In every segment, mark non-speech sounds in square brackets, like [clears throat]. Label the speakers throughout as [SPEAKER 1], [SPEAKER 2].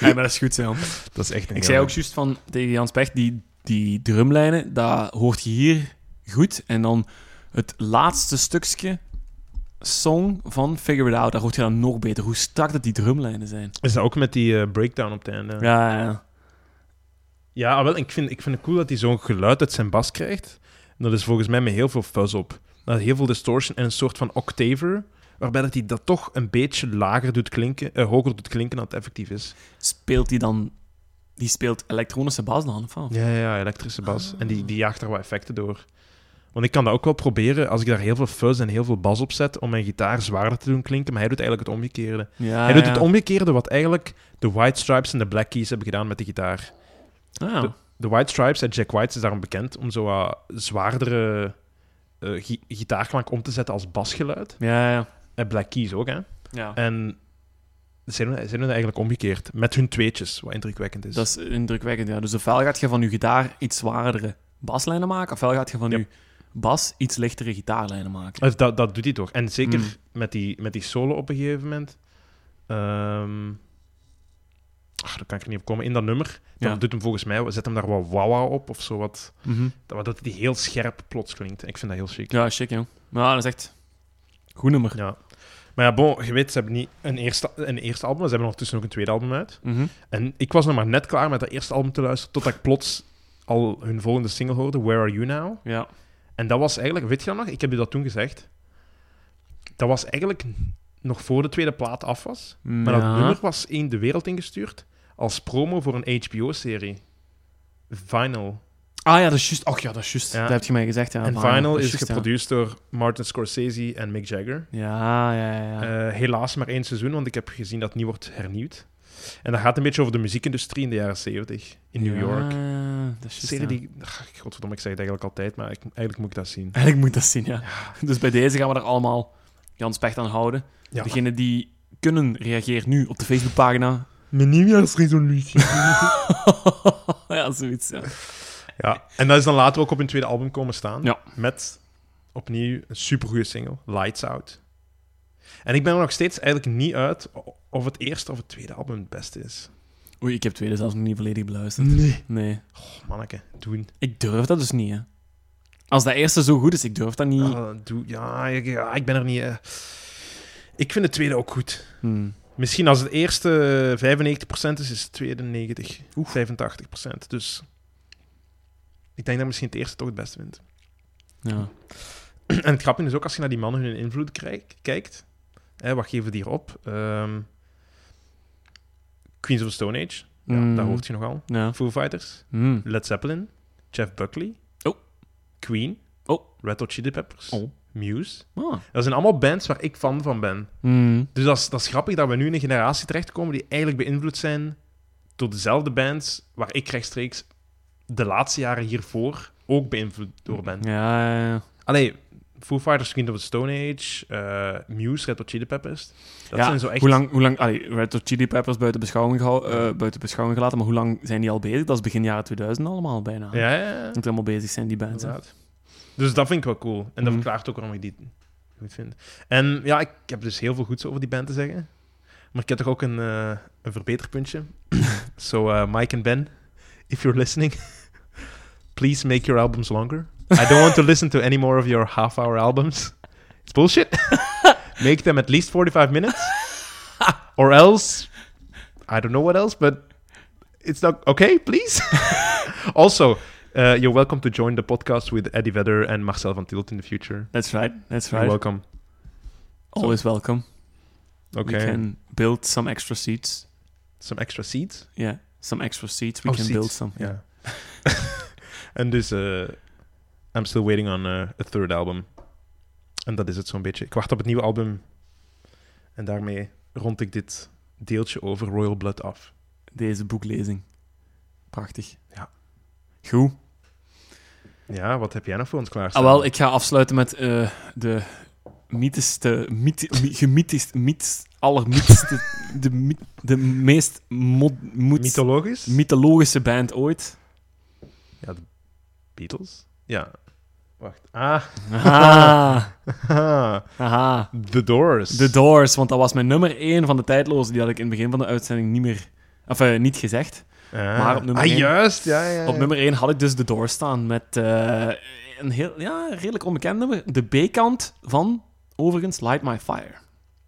[SPEAKER 1] Nee, maar dat is goed, Jan.
[SPEAKER 2] Dat is echt een
[SPEAKER 1] Ik zei ook
[SPEAKER 2] geweldig-
[SPEAKER 1] juist van, tegen Jans Pecht, die, die drumlijnen, dat hoort je hier goed. En dan het laatste stukje song van Figure It Out, daar hoort je dan nog beter. Hoe strak dat die drumlijnen zijn.
[SPEAKER 2] Is dat ook met die eh, breakdown op het einde? Ja,
[SPEAKER 1] Ja, ja, ja.
[SPEAKER 2] ah, wel, ik vind, ik vind het cool dat hij zo'n geluid uit zijn bas krijgt. En dat is volgens mij met heel veel fuzz op. Dat heel veel distortion en een soort van octaver, waarbij dat hij dat toch een beetje lager doet klinken, eh, hoger doet klinken dan het effectief is.
[SPEAKER 1] Speelt die dan... Die speelt elektronische bas dan, of wat?
[SPEAKER 2] Ja, ja, ja, elektrische bas. Ah. En die, die jaagt er wat effecten door. Want ik kan dat ook wel proberen als ik daar heel veel fuzz en heel veel bas op zet om mijn gitaar zwaarder te doen klinken, maar hij doet eigenlijk het omgekeerde.
[SPEAKER 1] Ja,
[SPEAKER 2] hij doet
[SPEAKER 1] ja.
[SPEAKER 2] het omgekeerde wat eigenlijk de White Stripes en de Black Keys hebben gedaan met de gitaar.
[SPEAKER 1] Ah, ja.
[SPEAKER 2] De White Stripes en Jack White is daarom bekend om zo wat zwaardere eh, gi- gitaarklank om te zetten als basgeluid.
[SPEAKER 1] Ja, ja.
[SPEAKER 2] En Black Keys ook, hè.
[SPEAKER 1] ja.
[SPEAKER 2] En ze doen, ze doen het eigenlijk omgekeerd, met hun tweetjes, wat indrukwekkend is.
[SPEAKER 1] Dat is indrukwekkend, ja. Dus ofwel gaat je van je gitaar iets zwaardere baslijnen maken, ofwel gaat je van
[SPEAKER 2] Ja.
[SPEAKER 1] je bas iets lichtere gitaarlijnen maken.
[SPEAKER 2] Dus dat, dat doet hij toch. En zeker
[SPEAKER 1] Mm.
[SPEAKER 2] met, die, met die solo op een gegeven moment. Ehm ach, daar kan ik er niet op komen. In dat nummer. Dan
[SPEAKER 1] Ja.
[SPEAKER 2] doet hem volgens mij, zet hem daar wat wawa op of zo wat.
[SPEAKER 1] Mhm.
[SPEAKER 2] Dat, dat die heel scherp plots klinkt. Ik vind dat heel chic. Ja.
[SPEAKER 1] Ja, chic, joh. Maar dat is echt... Goed nummer.
[SPEAKER 2] Maar ja, bon, je weet, ze hebben niet een eerste, een eerste album, maar ze hebben ondertussen ook een tweede album uit.
[SPEAKER 1] Mhm.
[SPEAKER 2] En ik was nog maar net klaar met dat eerste album te luisteren, totdat ik plots al hun volgende single hoorde, Where Are You Now?
[SPEAKER 1] Ja.
[SPEAKER 2] En dat was eigenlijk, weet je dat nog? Ik heb je dat toen gezegd. Dat was eigenlijk nog voor de tweede plaat af was. Maar
[SPEAKER 1] Ja.
[SPEAKER 2] dat nummer was in de wereld ingestuurd als promo voor een HBO-serie. Vinyl.
[SPEAKER 1] Ah ja, dat is juist. Och ja, dat is juist.
[SPEAKER 2] Ja.
[SPEAKER 1] Dat heb je mij gezegd. Ja,
[SPEAKER 2] en Vinyl
[SPEAKER 1] dat
[SPEAKER 2] is
[SPEAKER 1] juist, ja.
[SPEAKER 2] geproduceerd door Martin Scorsese en Mick Jagger.
[SPEAKER 1] Ja, ja, ja. ja.
[SPEAKER 2] Eh, helaas maar één seizoen, want ik heb gezien dat het niet wordt hernieuwd. En dat gaat een beetje over de muziekindustrie in de jaren 70 in New
[SPEAKER 1] Ja,
[SPEAKER 2] York.
[SPEAKER 1] dat is juist,
[SPEAKER 2] Serie
[SPEAKER 1] ja.
[SPEAKER 2] die... Ach, godverdomme, ik zeg het eigenlijk altijd, maar ik- eigenlijk moet ik dat zien.
[SPEAKER 1] [laughs] Eigenlijk moet dat zien, ja. Dus bij deze gaan we er allemaal Jan Specht aan houden.
[SPEAKER 2] Ja.
[SPEAKER 1] Degene die kunnen, reageer nu op de Facebookpagina.
[SPEAKER 2] Mijn nieuwjaarsresolutie.
[SPEAKER 1] [laughs] ja, zoiets, ja.
[SPEAKER 2] Ja, en dat is dan later ook op hun tweede album komen staan.
[SPEAKER 1] Ja.
[SPEAKER 2] Met opnieuw een supergoeie single, Lights Out. En ik ben er nog steeds eigenlijk niet uit of het eerste of het tweede album het beste is.
[SPEAKER 1] Oei, ik heb tweede zelfs nog niet volledig beluisterd.
[SPEAKER 2] Nee.
[SPEAKER 1] Nee.
[SPEAKER 2] Oh, manneke, doen.
[SPEAKER 1] Ik durf dat dus niet, hè. Als dat eerste zo goed is, ik durf dat niet.
[SPEAKER 2] Ah, doe. Ja, ik, ja, ik ben er niet... eh. Ik vind het tweede ook goed.
[SPEAKER 1] Hmm.
[SPEAKER 2] Misschien als het eerste 95% is, is het tweede 90. 85%. Dus ik denk dat misschien het eerste toch het beste wint.
[SPEAKER 1] Ja.
[SPEAKER 2] [clears throat] En het grappige is ook als je naar die mannen hun invloed krijg- kijkt. Hè, wat geven die erop? Ehm, Queens of the Stone Age. Ja,
[SPEAKER 1] Mm.
[SPEAKER 2] Daar hoort je nogal.
[SPEAKER 1] Ja.
[SPEAKER 2] Foo Fighters.
[SPEAKER 1] Hmm.
[SPEAKER 2] Led Zeppelin. Jeff Buckley.
[SPEAKER 1] Oh.
[SPEAKER 2] Queen.
[SPEAKER 1] Oh.
[SPEAKER 2] Red Hot Chili Peppers.
[SPEAKER 1] Oh.
[SPEAKER 2] Muse.
[SPEAKER 1] Ah.
[SPEAKER 2] Dat zijn allemaal bands waar ik fan van ben.
[SPEAKER 1] Hmm.
[SPEAKER 2] Dus dat is, dat is grappig dat we nu in een generatie terechtkomen die eigenlijk beïnvloed zijn door dezelfde bands waar ik rechtstreeks de laatste jaren hiervoor ook beïnvloed door ben.
[SPEAKER 1] Ja, ja, ja.
[SPEAKER 2] Allee, Foo Fighters, Queen of the Stone Age, eh, Muse, Red Hot Chili Peppers. Dat
[SPEAKER 1] Ja,
[SPEAKER 2] zijn zo echt...
[SPEAKER 1] Hoe lang, hoe lang allee, Red Hot Chili Peppers buiten beschouwing, gehou- eh, buiten beschouwing gelaten, maar hoe lang zijn die al bezig? Dat is begin jaren 2000 allemaal bijna.
[SPEAKER 2] Ja, ja, ja.
[SPEAKER 1] Dat helemaal bezig zijn, die bands. hè.
[SPEAKER 2] Inderdaad. Dus dat vind ik wel cool. En dat
[SPEAKER 1] Mhm.
[SPEAKER 2] verklaart ook waarom ik die goed vind. En ja, ik heb dus heel veel goeds over die band te zeggen. Maar ik heb toch ook een, eh, een
[SPEAKER 1] [laughs]
[SPEAKER 2] verbeterpuntje. so, eh, Mike en Ben, if you're listening, [laughs] please make your albums longer. I don't
[SPEAKER 1] [laughs]
[SPEAKER 2] want to listen to any more of your half-hour albums. It's
[SPEAKER 1] [laughs]
[SPEAKER 2] bullshit. make them at least 45 minutes. Or else, I don't know what else, but it's not
[SPEAKER 1] [laughs]
[SPEAKER 2] okay, please. also, uh, you're welcome to join the podcast with Eddie Vedder and Marcel van Tilt in the future.
[SPEAKER 1] That's right, that's
[SPEAKER 2] You're
[SPEAKER 1] right.
[SPEAKER 2] welcome.
[SPEAKER 1] Always welcome.
[SPEAKER 2] Okay.
[SPEAKER 1] We can build some extra seats.
[SPEAKER 2] Some extra seats.
[SPEAKER 1] Yeah, some extra seats. We
[SPEAKER 2] Oh,
[SPEAKER 1] can
[SPEAKER 2] seats.
[SPEAKER 1] build some.
[SPEAKER 2] Yeah. [laughs] en dus, eh, I'm still waiting on eh, a third album. En dat is het zo'n beetje. Ik wacht op het nieuwe album. En daarmee rond ik dit deeltje over Royal Blood af.
[SPEAKER 1] Deze boeklezing. Prachtig.
[SPEAKER 2] Ja.
[SPEAKER 1] Goed.
[SPEAKER 2] Ja, wat heb jij nog voor ons klaarstaan?
[SPEAKER 1] Ah, wel, ik ga afsluiten met eh, de mythischste, mythi- my- gemythisch, myth, allermythischste, de, myth- de meest mod, moet-
[SPEAKER 2] Mythologisch?
[SPEAKER 1] mythologische band ooit.
[SPEAKER 2] ja, de Beatles? Ja. Wacht. Ah. [laughs]
[SPEAKER 1] Aha, [laughs] aha.
[SPEAKER 2] The Doors.
[SPEAKER 1] The Doors, want dat was mijn nummer 1 van de tijdloze. Die had ik in het begin van de uitzending niet meer Enfin, niet gezegd.
[SPEAKER 2] Ah.
[SPEAKER 1] Maar op nummer
[SPEAKER 2] ah,
[SPEAKER 1] één-
[SPEAKER 2] juist. Ja, ja, ja.
[SPEAKER 1] Op nummer 1 had ik dus de Doors staan met eh, een heel, ja, redelijk onbekend nummer. De B-kant van, overigens, Light My Fire.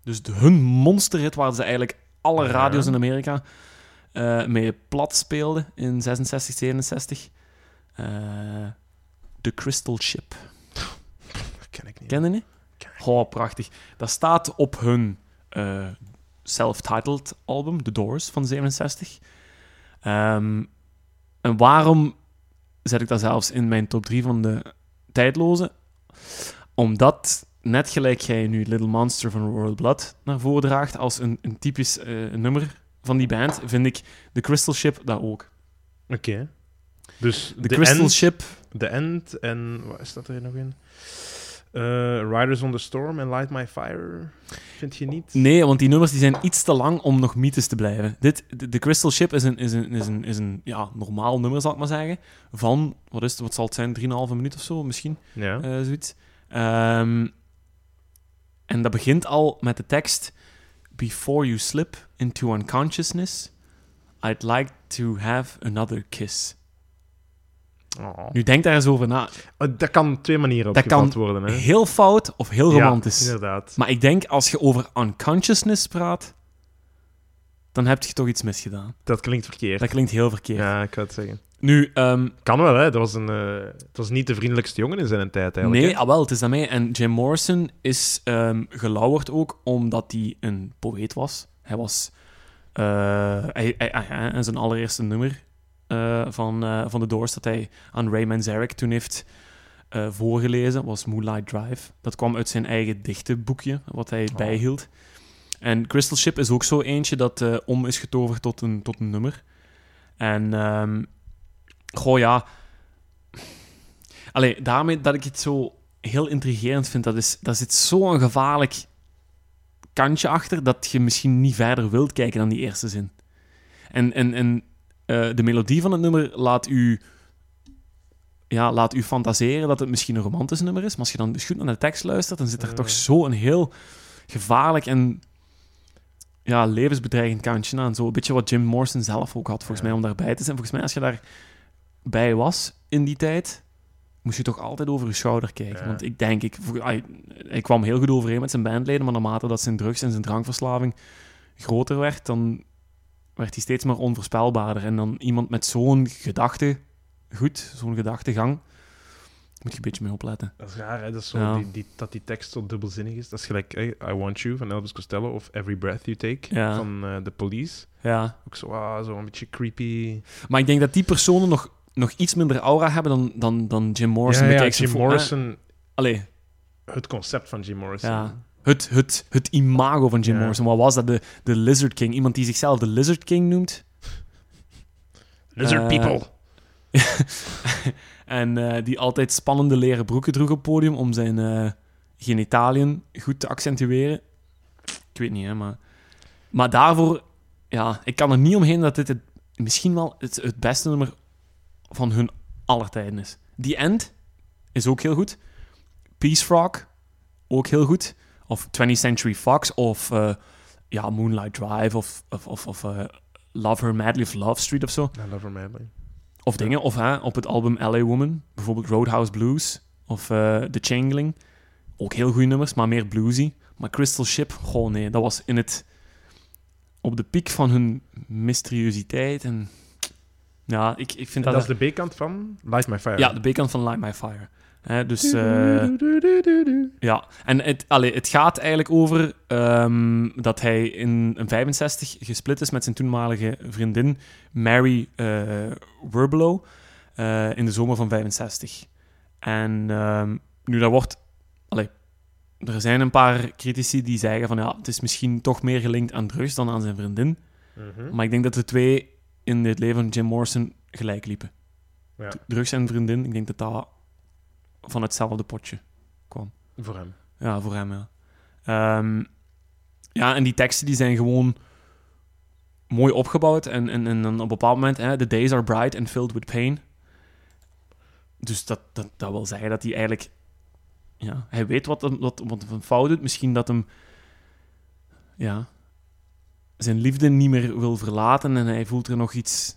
[SPEAKER 1] Dus de, hun monsterhit waar ze eigenlijk alle
[SPEAKER 2] Ja.
[SPEAKER 1] radio's in Amerika eh, mee plat speelden in 66, 67. Eh, The Crystal Ship.
[SPEAKER 2] Dat ken ik niet.
[SPEAKER 1] Ken je niet?
[SPEAKER 2] Ken
[SPEAKER 1] Oh, prachtig. Dat staat op hun eh, self-titled album, The Doors, van 67. Ehm, en waarom zet ik dat zelfs in mijn top 3 van de tijdloze? Omdat, net gelijk jij nu Little Monster van Royal Blood naar voren draagt als een, een typisch eh, nummer van die band, vind ik The Crystal Ship dat ook.
[SPEAKER 2] Oké. Dus
[SPEAKER 1] The
[SPEAKER 2] de
[SPEAKER 1] Crystal
[SPEAKER 2] end,
[SPEAKER 1] Ship
[SPEAKER 2] The End en... Wat staat er nog in? Eh, Riders on the Storm en Light My Fire. Vind je niet?
[SPEAKER 1] Nee, want die nummers die zijn iets te lang om nog mythes te blijven. Dit, de, de Crystal Ship is een, is een, is een, is een ja, normaal nummer, zal ik maar zeggen. Van, wat, is het, wat zal het zijn, 3,5 minuut of zo misschien,
[SPEAKER 2] Ja.
[SPEAKER 1] eh, zoiets. Ehm, en dat begint al met de tekst... Before you slip into unconsciousness, I'd like to have another kiss.
[SPEAKER 2] Oh.
[SPEAKER 1] Nu denk daar eens over na.
[SPEAKER 2] Eh, Dat kan twee manieren
[SPEAKER 1] Dat
[SPEAKER 2] opgevat
[SPEAKER 1] kan
[SPEAKER 2] worden. Hè?
[SPEAKER 1] Heel fout of heel romantisch.
[SPEAKER 2] Ja, inderdaad.
[SPEAKER 1] Maar ik denk, als je over unconsciousness praat, dan heb je toch iets misgedaan.
[SPEAKER 2] Dat klinkt verkeerd.
[SPEAKER 1] Dat klinkt heel verkeerd.
[SPEAKER 2] Ja, ik wou het zeggen.
[SPEAKER 1] Nu, ehm,
[SPEAKER 2] Kan wel, hè. Dat was, een, eh, het was niet de vriendelijkste jongen in zijn tijd, eigenlijk.
[SPEAKER 1] nee, ah wel, het is daarmee. En Jim Morrison is ehm gelauwerd ook omdat hij een poëet was. Hij was... eh, hij, hij, ah ja, en zijn allereerste nummer eh, van, eh, van de Doors dat hij aan Ray Manzarek toen heeft eh, voorgelezen, was Moonlight Drive. Dat kwam uit zijn eigen dichtenboekje, wat hij
[SPEAKER 2] Oh.
[SPEAKER 1] bijhield. En Crystal Ship is ook zo eentje dat eh, om is getoverd tot een, tot een nummer. En, ehm goh ja... Allee, daarmee dat ik het zo heel intrigerend vind, dat is, daar zit zo'n gevaarlijk kantje achter, dat je misschien niet verder wilt kijken dan die eerste zin. En, en, en eh, de melodie van het nummer laat u ja, laat u fantaseren dat het misschien een romantisch nummer is. Maar als je dan dus goed naar de tekst luistert, dan zit er
[SPEAKER 2] Ja.
[SPEAKER 1] toch zo'n heel gevaarlijk en ja, levensbedreigend kantje aan. Zo een beetje wat Jim Morrison zelf ook had, volgens
[SPEAKER 2] Ja.
[SPEAKER 1] mij, om daarbij te zijn. Volgens mij, als je daarbij was in die tijd, moest je toch altijd over je schouder kijken.
[SPEAKER 2] Ja.
[SPEAKER 1] Want ik denk, ik, hij, hij kwam heel goed overeen met zijn bandleden, maar naarmate dat zijn drugs en zijn drankverslaving groter werd, dan werd hij steeds maar onvoorspelbaarder. En dan iemand met zo'n gedachte goed, zo'n gedachtegang. Moet je een beetje mee opletten.
[SPEAKER 2] Dat is raar, hè? Dat, is zo
[SPEAKER 1] Ja.
[SPEAKER 2] die, die, dat die tekst zo dubbelzinnig is. Dat is gelijk eh, I Want You van Elvis Costello of Every Breath You Take
[SPEAKER 1] Ja.
[SPEAKER 2] van eh The Police.
[SPEAKER 1] Ja.
[SPEAKER 2] Ook zo, ah, zo een beetje creepy.
[SPEAKER 1] Maar ik denk dat die personen nog, nog iets minder aura hebben dan, dan, dan Jim Morrison.
[SPEAKER 2] ja, ja,
[SPEAKER 1] Bekijk ze
[SPEAKER 2] Jim
[SPEAKER 1] voor- eh,
[SPEAKER 2] Morrison,
[SPEAKER 1] Allee,
[SPEAKER 2] het concept van Jim Morrison.
[SPEAKER 1] Ja. het, het, het imago van Jim
[SPEAKER 2] Ja.
[SPEAKER 1] Morrison. Wat was dat? De, de Lizard King. Iemand die zichzelf de Lizard King noemt.
[SPEAKER 2] Lizard
[SPEAKER 1] Eh,
[SPEAKER 2] People.
[SPEAKER 1] En eh, die altijd spannende leren broeken droeg op het podium om zijn eh, genitaliën goed te accentueren. Ik weet niet, hè, maar... Maar daarvoor... Ja, ik kan er niet omheen dat dit het, misschien wel het, het beste nummer van hun aller tijden is. The End is ook heel goed. Peace Frog, ook heel goed. Of 20th Century Fox, of eh, ja, Moonlight Drive, of, of, of, of eh, Love Her Madly, of Love Street of zo.
[SPEAKER 2] I love her madly.
[SPEAKER 1] Of dingen, of hè, op het album LA Woman, bijvoorbeeld Roadhouse Blues of eh, The Changeling. Ook heel goede nummers, maar meer bluesy. Maar Crystal Ship, goh nee, dat was in het... Op de piek van hun mysteriositeit en... Ja, ik, ik vind
[SPEAKER 2] Dat,
[SPEAKER 1] dat...
[SPEAKER 2] is de B-kant van Light My Fire.
[SPEAKER 1] ja, de bekant van Light My Fire. Hè, dus... eh,
[SPEAKER 2] Du-du-du-du-du-du.
[SPEAKER 1] ja, en het, allee, het gaat eigenlijk over ehm, dat hij in een 65 gesplit is met zijn toenmalige vriendin Mary eh Werbelow eh, in de zomer van 65. En ehm, nu daar wordt... Allee, er zijn een paar critici die zeggen van ja, het is misschien toch meer gelinkt aan drugs dan aan zijn vriendin.
[SPEAKER 2] Mhm.
[SPEAKER 1] Maar ik denk dat de twee in het leven van Jim Morrison gelijk liepen.
[SPEAKER 2] Ja.
[SPEAKER 1] Drugs en vriendin, ik denk dat dat van hetzelfde potje
[SPEAKER 2] Voor hem.
[SPEAKER 1] ja, voor hem, ja. Ehm, ja, en die teksten die zijn gewoon mooi opgebouwd. En, en, en dan op een bepaald moment, hè, the days are bright and filled with pain. Dus dat, dat, dat wil zeggen dat hij eigenlijk... Ja, hij weet wat, hem, wat, wat hem fout doet. Misschien dat hem... Ja... zijn liefde niet meer wil verlaten en hij voelt er nog iets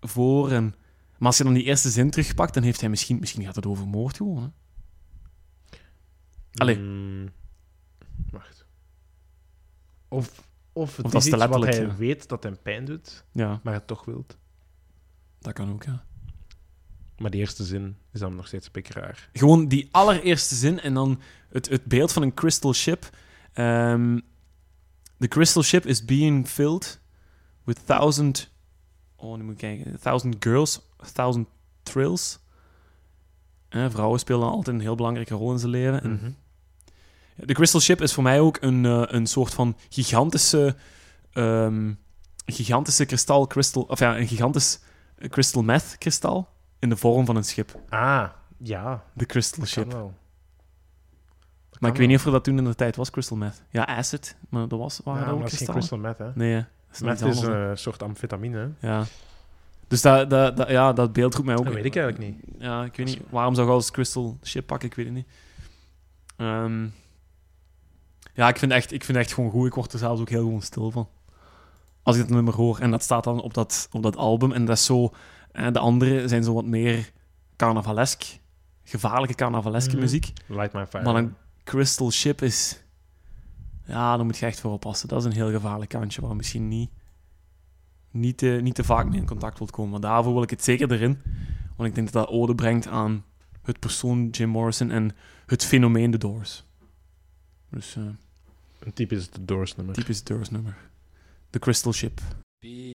[SPEAKER 1] voor. En... Maar als je dan die eerste zin terugpakt, dan heeft hij misschien... Misschien gaat het over moord gewoon, hè? Allee.
[SPEAKER 2] Mm, wacht. Of, of het
[SPEAKER 1] Of dat
[SPEAKER 2] is
[SPEAKER 1] is
[SPEAKER 2] iets
[SPEAKER 1] te
[SPEAKER 2] wat hij
[SPEAKER 1] letterlijk, ja.
[SPEAKER 2] weet dat hem pijn doet,
[SPEAKER 1] Ja,
[SPEAKER 2] maar het toch wilt.
[SPEAKER 1] dat kan ook, ja.
[SPEAKER 2] Maar die eerste zin is dan nog steeds pikraar.
[SPEAKER 1] Gewoon die allereerste zin en dan het, het beeld van een crystal ship. Ehm the crystal ship is being filled with thousand... Oh, nu moet ik kijken. Thousand girls, thousand thrills. Eh, vrouwen spelen altijd een heel belangrijke rol in zijn leven. En
[SPEAKER 2] Mhm.
[SPEAKER 1] De Crystal Ship is voor mij ook een, eh, een soort van gigantische, ehm, gigantische kristal, crystal, of ja, een gigantisch eh, crystal meth kristal in de vorm van een schip.
[SPEAKER 2] Ah, ja.
[SPEAKER 1] De Crystal
[SPEAKER 2] Dat kan
[SPEAKER 1] Ship.
[SPEAKER 2] wel. Dat
[SPEAKER 1] Maar
[SPEAKER 2] kan
[SPEAKER 1] ik weet niet
[SPEAKER 2] wel.
[SPEAKER 1] of er dat toen in de tijd was, crystal meth. Ja, acid, maar dat was,
[SPEAKER 2] Ja,
[SPEAKER 1] waren dat
[SPEAKER 2] maar
[SPEAKER 1] ook
[SPEAKER 2] dat is geen
[SPEAKER 1] kristallen?
[SPEAKER 2] crystal meth, hè.
[SPEAKER 1] Nee, hè. dat is nog
[SPEAKER 2] Meth
[SPEAKER 1] iets
[SPEAKER 2] is
[SPEAKER 1] anders.
[SPEAKER 2] een
[SPEAKER 1] hè.
[SPEAKER 2] eh, soort amfetamine, hè.
[SPEAKER 1] Ja. Dus dat, dat, dat- ja, dat beeld roept mij ook.
[SPEAKER 2] Dat weet ik eigenlijk niet.
[SPEAKER 1] Ja, ik weet niet. Waarom zou ik als Crystal Ship pakken? Ik weet het niet. Ehm, ja, ik vind, echt, ik vind echt gewoon goed. Ik word er zelfs ook heel gewoon stil van. Als ik dat nummer hoor. En dat staat dan op dat, op dat album. En dat is zo... eh, de andere zijn zo wat meer carnavalesk. Gevaarlijke carnavaleske
[SPEAKER 2] Mhm.
[SPEAKER 1] muziek.
[SPEAKER 2] Light my fire.
[SPEAKER 1] Maar een Crystal Ship is... Ja, daar moet je echt voor oppassen. Dat is een heel gevaarlijk kantje waar je misschien niet, niet, te, niet te vaak mee in contact wilt komen. Maar daarvoor wil ik het zeker erin. Want ik denk dat dat ode brengt aan het persoon Jim Morrison en het fenomeen The Doors. Dus eh
[SPEAKER 2] Een typisch Doors nummer.
[SPEAKER 1] typisch Doors nummer. The Crystal Ship.
[SPEAKER 3] Be